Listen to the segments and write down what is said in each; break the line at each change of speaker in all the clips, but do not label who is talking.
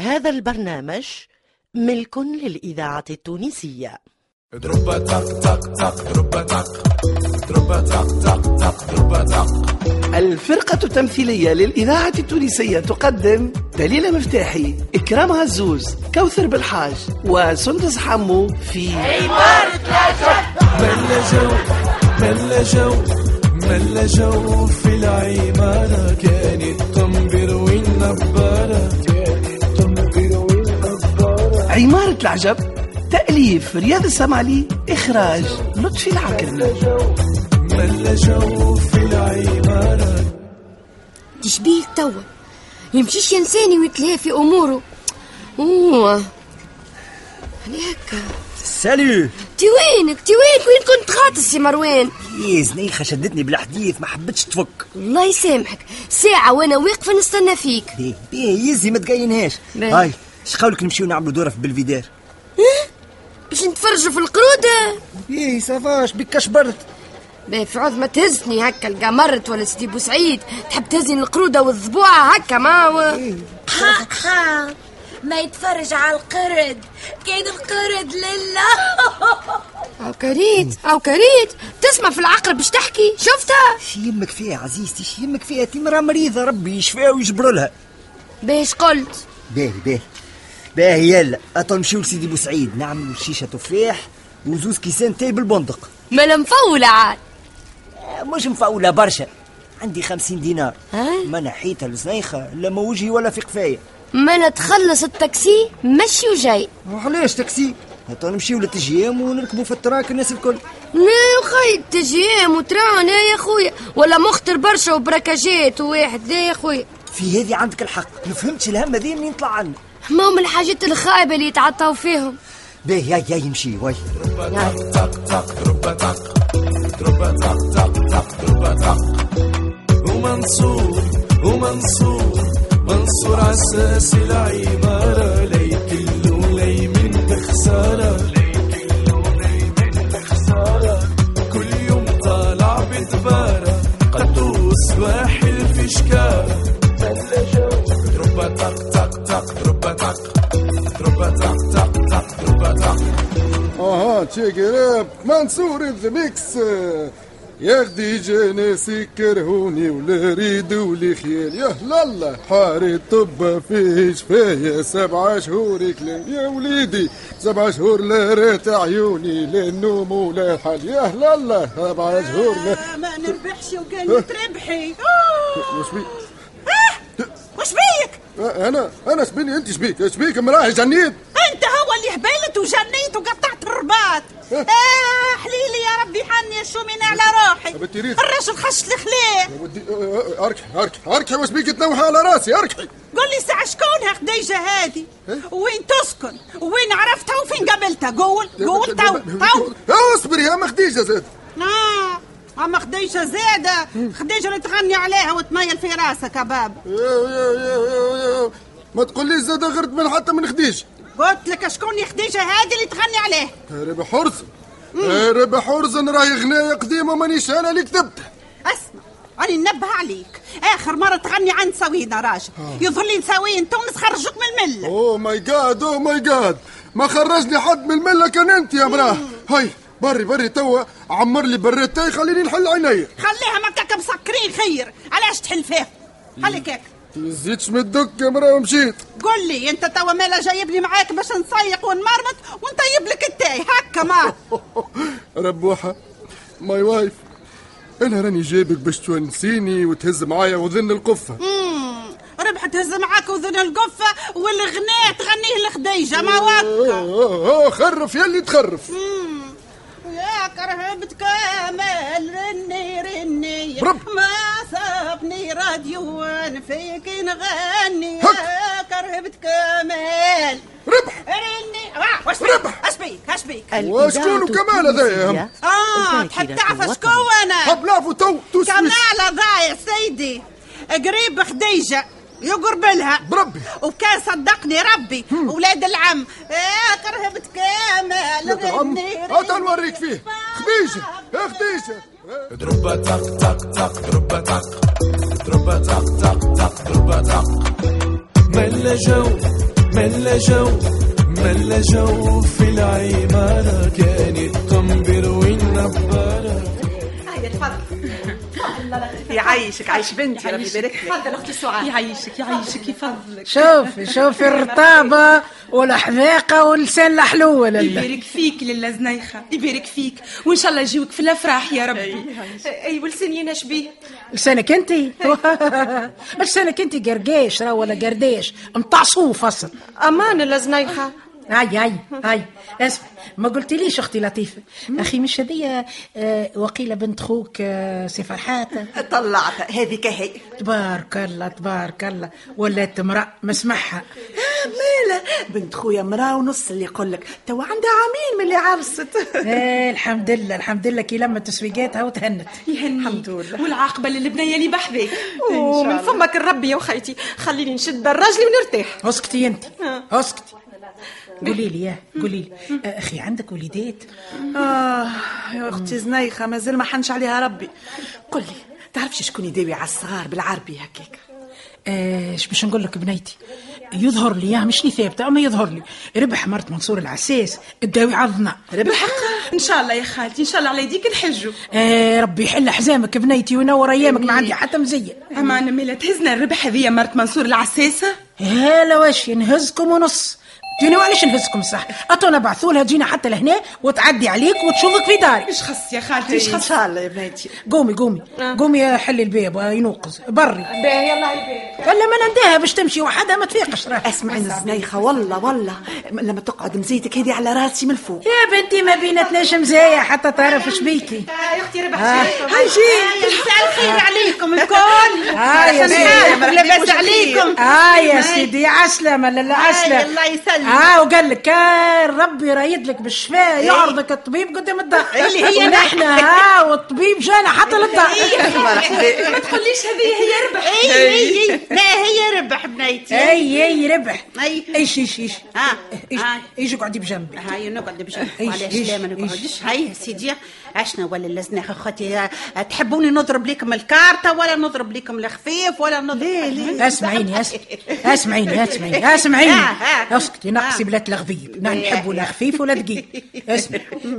هذا البرنامج ملك للإذاعة التونسية
دروبة تق تق تق دروبة تق دروبة تق تق تق دروبة تق
الفرقة التمثيلية للإذاعة التونسية تقدم دليلة مفتاحي إكرام عزوز كوثر بالحاج وسندس حمو في
ملا جو ملا جو ملا جو في العمارة كانت تنبر والنبارة كانت تنبر والنبارة
عمارة العجب تأليف رياض السمعلي إخراج لطفي العكرمي
ملا جو في العمارة
تشبيه توا يمشيش ينساني ويتلهى في اموره اوه علي هكا
سالو
تي وينك تي وينك وين كنت خاطس يا مروان
يا زنيخة شدتني إيه، بالحديث ما حبتش تفك
الله يسامحك ساعة وانا واقفة نستنى فيك
بيه بيه إيه، يزي ما تقينهاش
نعم.
باهي.
هاي شقولك نمشيو نعملوا دورة في بلفيدير
باش نتفرجوا في القرودة
يا سافاش بك كشبرت
باه في عوض ما تهزني هكا القمرت ولا سيدي بوسعيد تحب تهزني القرودة والضبوعة هكا ما هو
ها ها ما يتفرج على القرد كان القرد لله
او كريت او كريت تسمع في العقرب باش تحكي شفتها
شي يمك فيها عزيزتي شي يمك فيها تي مرا مريضة ربي يشفيها ويجبر لها
باش قلت
باهي باهي باهي يلا اطل نمشيو لسيدي بوسعيد نعملوا شيشة تفاح وزوز كيسان تاي بالبندق
ما لا مفولة عاد
آه، مش مفاولة برشا عندي خمسين دينار
هاي.
ما نحيتها لزنيخة لا ما وجهي ولا في قفايا
ما لا تخلص التاكسي مشي وجاي
وعلاش تاكسي؟ هاتو نمشيو للتجيام ونركبوا في التراك الناس الكل
لا وخي التجيام وترانا يا خويا ولا مخطر برشا وبركاجات وواحد لا يا خويا
في هذه عندك الحق ما فهمتش الهم هذه منين طلع عنا
ما هم الحاجات الخايبة اللي يتعطاو فيهم
باهي يا يا يمشي وي
تق تق دروبة تق دروبة تق تق تق دروبة تق ومنصور ومنصور منصور عساس العمارة ليت اللولي من تخسارة ليت اللولي من تخسارة كل يوم طالع بدبارة قدوس واحل في شكارة دروبة تق تق تق دروبة تق دروبة تق تق تق دروبة تق
اها تشيك راب منصور ذا ميكس يا خديجة ناسي كرهوني ولا ريد ولا خيال يا لله حاري الطب فيه شفايا سبعة شهور كلام يا وليدي سبعة شهور لا رات عيوني لا النوم ولا الحل يا لله سبعة شهور لا
ما نربحش وقال تربحي
وش بي
وش بيك
انا انا شبيني انت شبيك شبيك مراهي جنيت
انت هو اللي هبلت وجنيت وقطعت الرباط
إيه.
اه حليلي يا ربي حني الشومين على روحي
طب أنت ريت.
الرجل خش الخليه
ودي- اركحي اركحي اركحي وش بيك تنوح على راسي اركحي
قول لي ساعه شكونها خديجه هذه وين تسكن وين عرفتها وفين قابلتها قول قول تو تو
اصبر يا ام خديجه زاد
آه، اما خديجه زاده خديجه اللي تغني عليها وتميل في راسك يا بابا
يا- يا- يا- يا- يا. ما تقوليش زاد غرد من حتى من خديجه
قلت لك شكون يا خديجه هذه اللي تغني عليها
يا ربح حرزن يا ربح حرزن راهي غنايه قديمه مانيش انا اللي كتبتها
اسمع راني ننبه عليك اخر مره تغني عن سوينا راجل يظهر لي سوين تونس خرجوك من المله
اوه ماي جاد اوه ماي جاد oh ما خرجني حد من المله كان انت يا مراه هاي بري بري توا عمر لي بريتاي خليني نحل عينيا
خليها مكاك مسكرين خير علاش تحل فيها خليك هيك
زيدش من الدك يا مراه ومشيت
قول لي انت توا مالا جايبني معاك باش نصيق ونمرمط ونطيب لك التاي هكا ما
ربوحه ماي وايف انا راني جايبك باش تونسيني وتهز معايا وذن القفه
مم، ربح تهز معاك وذن القفه والغناء تغنيه لخديجه ما وكا
أوه، أوه، أوه، Oh، خرف يا اللي تخرف
مم. يا كرهبت كامل رني رني
برب.
ما صابني راديو وانا فيك نغني
هك.
يا كرهبت كامل
ربح
رني آه، وش
ربح.
بيك اش بيك اش بيك
الإذاعة
وشكون وكمال هذايا؟
التونسية
اه تحب
ذاكرة
تعرف
الوطن.
شكون انا
حب لعبه تو تو سويس
كمال ضايع سيدي قريب خديجه يقرب لها
بربي.
وكان صدقني ربي ولاد العم آه كرهبت كامل
يا عم
رني
هات
رني.
آه، نوريك فيه إيه خديجه يا خديجه
دروبة تق تق تق دروبة تق دروبة تق تق تق دروبة تق ملا جو ملا جو ملا جو في العمارة كان القنبر والنبارة
هيا تفضل
يعيشك عايش بنتي ربي يبارك لك
تفضل اختي سعاد
يعيشك يعيشك يفضلك
شوفي شوفي الرطابة والحذاقة واللسان الحلو لله
يبارك فيك لله زنيخة يبارك فيك وإن شاء الله يجيوك في الأفراح يا ربي أي ولسنينا شبيه
لسانك انت لسانك انت قرقاش راه ولا قرداش متاع صوف اصلا
أمان لله زنيخة
هاي هاي هاي اسمع ما قلت ليش اختي لطيفه اخي مش هذه آه، وقيله بنت خوك آه، سي فرحات
طلعتها هذيك هي
تبارك الله تبارك الله ولات امراه ما اسمعها
مالا بنت خويا مراه ونص اللي يقول لك تو عندها عامين من اللي عرست
آه، الحمد لله الحمد لله كي لما تسويقاتها وتهنت
يهنيك الحمد لله والعاقبه للبنيه اللي بحذاك ومن فمك الرب يا وخيتي خليني نشد راجلي ونرتاح
اسكتي انت اسكتي قولي لي ياه قولي لي آه، اخي عندك وليدات
آه يا أختي زنيخة مازال ما حنش عليها ربي قل لي تعرفش شكون يداوي على الصغار بالعربي هكاك
ايش أه، باش نقول لك بنيتي يظهر لي ياه مشني ثابته اما يظهر لي ربح مرت منصور العساس الداوي عضنا
بالحق ان شاء الله يا خالتي ان شاء الله على يديك نحجوا
آه ربي يحل حزامك بنيتي وينور ايامك ما عندي حتى مزيه
اما انا ميلا تهزنا الربح هذيا مرت منصور العساسه
هلا واش نهزكم ونص توني وعلاش نهزكم صح اتونا بعثوا لها تجينا حتى لهنا وتعدي عليك وتشوفك في داري
ايش خص يا خالتي ايش خص ان شاء الله يا بنيتي
قومي قومي قومي حلي الباب ينوقظ بري
باهي يلا يبارك
ولا ما ننداها باش تمشي وحدها ما تفيقش راح
اسمعي الزنيخه والله والله لما تقعد مزيتك هذه على راسي من فوق
يا بنتي ما بيناتناش مزايا حتى تعرف اش بيكي
يا اختي ربح
آه.
هاي جي مساء الخير عليكم الكل
آه يا سيدي
لاباس عليكم
اه يا سيدي عسلمة
آه،
لا عسلمة
الله يسلمك.
اه وقال لك آه، ربي رايد لك بالشفاء يعرضك الطبيب قدام الدار
اللي إيه. هي
ونحن اه والطبيب جانا حتى للدار
ما تقوليش هذه هي ربح اي اي لا هي ربح بنيتي
اي اي ربح
أي.
ايش ايش ايش
طيب. آه.
ايش
آه.
ايش اقعدي بجنبي
هاي نقعد بجنبك
إيش-
وعلاش
إيش-
لا ما نقعدش
إيش.
هاي سيدي عشنا ولا لزنا اخوتي آه، تحبوني نضرب لكم الكارتة ولا نضرب لكم الخفيف ولا نضرب ليه
اسمعيني أس- اسمعيني اسمعيني اسمعيني
آه، آه.
اسكتي نقصي بلا تلغبيب لا نحب ولا خفيف ولا دقيق اسمع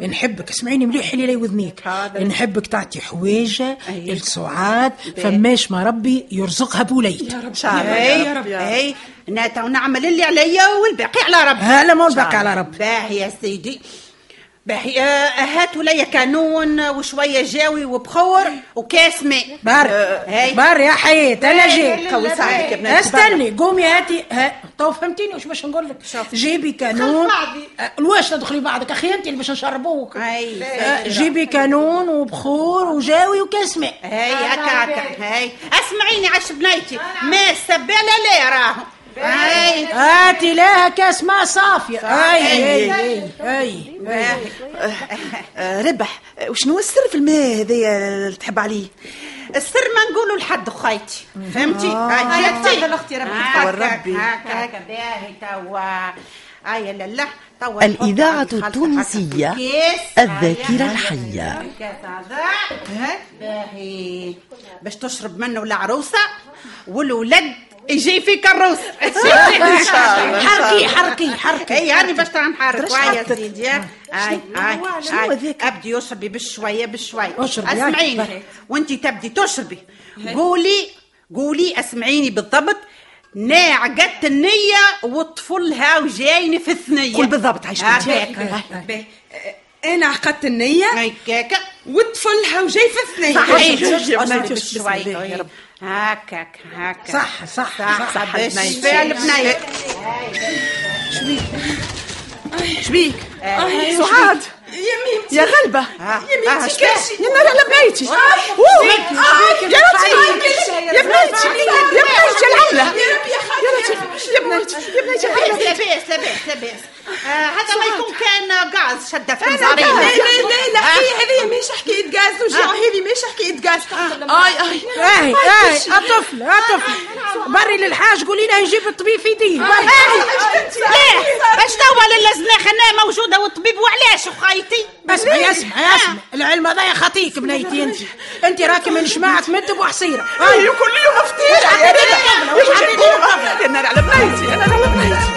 نحبك اسمعيني مليح لي وذنيك نحبك تعطي حوايجه
أيوة.
للسعاد فماش ما ربي يرزقها بوليد
ان شاء الله إيه، يا رب اي ناتا ونعمل اللي عليا والباقي على ربي
هلا ما نبقى على ربي
باهي يا سيدي باهي آه، هاتوا لي كانون وشويه جاوي وبخور وكاس ماء
بار
آه، هاي
بار يا حياة انا جيت
قوي ساعدك يا بنات
استني قومي هاتي ها تو فهمتيني واش باش نقول لك جيبي كانون
خلف بعضي.
آه، الواش تدخلي بعضك اخي انت اللي باش نشربوك
أي،
آه،
سيدي.
جيبي كانون وبخور وجاوي وكاس ماء
هاي هكا هكا هاي اسمعيني عش بنيتي ما السبالة لا راهم هاي
هاتي لها كاس ماء صافية اي اي اي اي
ربح وشنو السر في الماء هذايا اللي تحب عليه السر ما نقولوا لحد اخيتي فهمتي آه، هاي تفضل اختي ربي
وربي.
هكا هكا باهي توا اي لا لا توا نحط
الإذاعة
هذه الخلطة آه،
التونسية
هكا في الكيس.
الذاكرة
هاي.
الحية.
الكاس هذا. ها. باهي باش تشرب منه العروسه والولد يجي في كروس ان شاء الله
حركي حركي حركي
اي يعني باش ترى نحرك
ترش
واي
حطت.
يا سيدي اي
شنو
اي
هذاك؟
ابدي اشربي بشويه بشويه
اشربي، هاي.
اسمعيني
بري.
وانت تبدي تشربي قولي قولي اسمعيني بالضبط ناعقت النية والطفل هاو جايني في الثنية قول بالضبط عايش
انا عقدت النيه
هكاكا
وطفلها وجاي في اثنين
صحيت
شوف،
إيه. أشربي
شوف،
بشوية. إيه. هكاك هكاك
صح صح
صح صح باش
البنية.
الشفاء البنية
شبيك
آه،
سعاد
يمين
يا غلبة
آه،
يمين كاشي
يا نار على بنيتي أوه، يا بنيتي يا بنيتي يا بنيتي العملة يا بنيتي يا بنيتي العملة
لاباس لاباس لاباس لاباس آه، هذا ما يكون كان غاز شده في
لا
مزارين
لا لا لا
آه.
أه.
هي هذه ماهيش حكايه غاز وجع هذه ماهيش حكايه غاز
آه.
اي
أه.
اي
اي اي الطفل الطفل بري للحاج قولي له يجيب الطبيب في يديه
أه.
بري. آه. إيه،
ليه اش توا للزناخه انا موجوده والطبيب وعلاش خايتي
اسمع اسمع اسمع العلم هذا يخطيك بنيتي انت انت راكي من شماعك مد بحصيره
كل يوم افتيش يا نار على بنيتي يا نار على بنيتي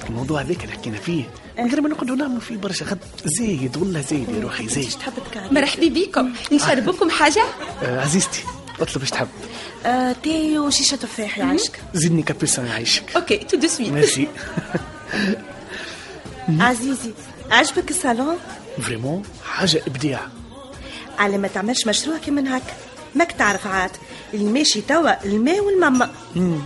في الموضوع هذاك اللي حكينا فيه من غير ما نقعدوا نعملوا فيه برشا خد زايد والله زايد يا روحي زايد
مرحبا بيكم نشرب لكم حاجه
آه عزيزتي اطلب ايش تحب
أه،
آه، تاي وشيشه تفاح يعيشك
زيدني كابيسا يعيشك
اوكي تو دو سويت
ميرسي
عزيزي عجبك الصالون
فريمون حاجه ابداع
على ما تعملش مشروع كي من هكا ماك تعرف عاد اللي ماشي توا الماء والماما
مم.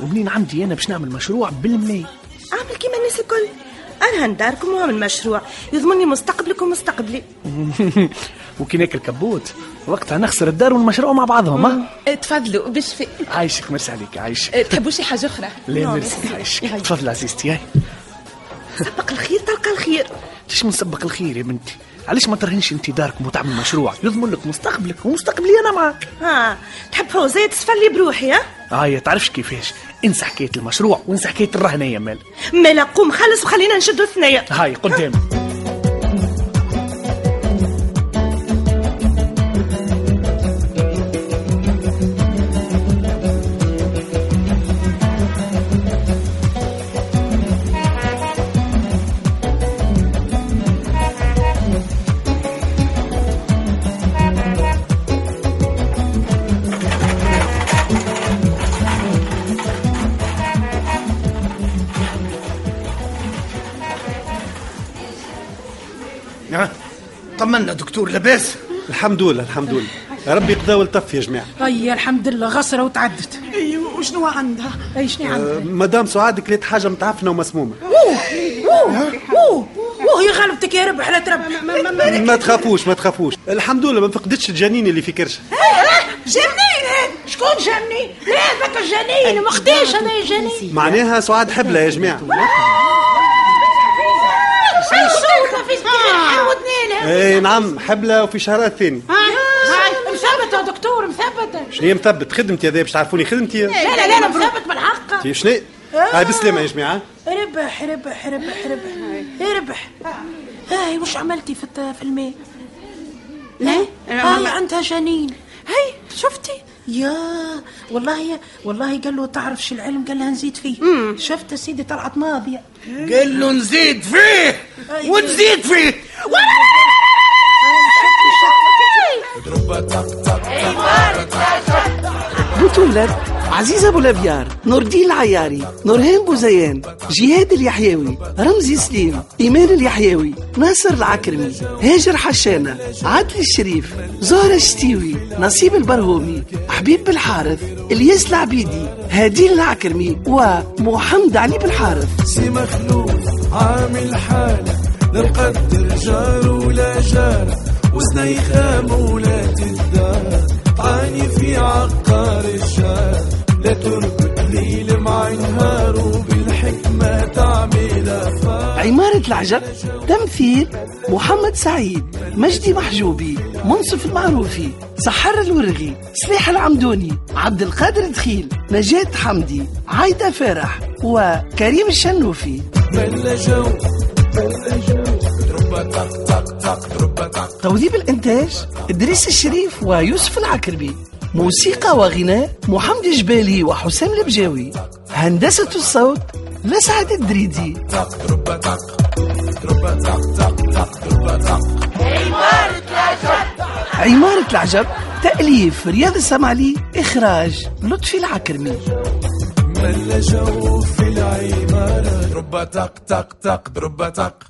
ومنين عندي انا باش نعمل مشروع بالمي
اعمل كيما الناس الكل ارهن داركم واعمل مشروع يضمني مستقبلك ومستقبلي
وكي ناكل كبوت وقتها نخسر الدار والمشروع مع بعضهم ها
آه، تفضلوا بالشفاء
عايشك مرسي عليك عايشك
آه، تحبوا شي نعم. حاجه اخرى
لا مرسي عايشك تفضل عزيزتي هاي
سبق الخير تلقى الخير
ليش منسبق الخير يا بنتي علاش ما ترهنش انت داركم وتعمل مشروع يضمن لك مستقبلك ومستقبلي انا معك
ها تحب فوزية تسفلي بروحي ها
هاي تعرفش كيفاش انسى حكايه المشروع وانسى حكايه الرهنه يا مال
مالا قوم خلص وخلينا نشدو الثنية
هاي قدام
آه، طمنا دكتور لاباس
الحمد لله الحمد لله ربي قضى والطف يا جماعه
هيا الحمد لله غسرة وتعدت
اي
أيوة،
وشنو عندها؟
اي شنو
آه،
عندها؟
مدام سعاد كليت حاجه متعفنه ومسمومه
ووه ووه ووه ووه يا غلبتك يا ربح لا تربح
ما تخافوش ما تخافوش الحمد لله ما فقدتش الجنين اللي في كرشه
جنين هذا شكون جنين؟ لا هذاك الجنين مختيش هذا
أيوة.
الجنين
معناها سعاد حبله يا جماعه
أيوة.
شوكه في سكينه
اي نعم حبله وفي شهرها الثاني
أه؟
هاي هاي مثبت يا دكتور مثبت
شنو هي مثبت خدمتي هذا باش تعرفوني خدمتي
لا لا لا أنا مثبت بالحق
انت شنو هاي بالسلامه يا جماعه
ربح ربح ربح ربح ربح هاي وش عملتي في الت- في الماء؟ لا هاي عندها جنين هاي إيه، شفتي يا والله يا والله قال له تعرفش العلم قال لها نزيد فيه شفت يا سيدي طلعت ماضيه
قال له نزيد فيه ونزيد فيه
بتولد عزيزة أبو لبيار نور الدين العياري نورهان بوزيان جهاد اليحيوي رمزي سليم إيمان اليحيوي ناصر العكرمي هاجر حشانة عدلي الشريف زهرة الشتيوي نصيب البرهومي حبيب بالحارث الياس العبيدي هادين العكرمي ومحمد علي بالحارث
سي مخلوف عامل حالة لا نقدر جار ولا جارة وزنيخة مولات الدار تعاني في عقار الشارع لا تربط ليل مع نهار وبالحكمة تعمل أفكار
عمارة العجب تمثيل محمد سعيد مجدي محجوبي منصف المعروفي سحر الورغي سلاح العمدوني عبد القادر دخيل نجاة حمدي عايدة فرح وكريم الشنوفي
ملا جو ملا جو تربة تك تك تك تربة تك
توظيف الإنتاج إدريس الشريف ويوسف العكربي موسيقى وغناء محمد الجبالي وحسام البجاوي هندسة الصوت لسعد الدريدي
تربة تك تربة تك تك تك تربة تك
عمارة العجب تأليف رياض السمعلي إخراج لطفي العكرمي
ملا جو في العمارة تربة تك تك تك تربة تك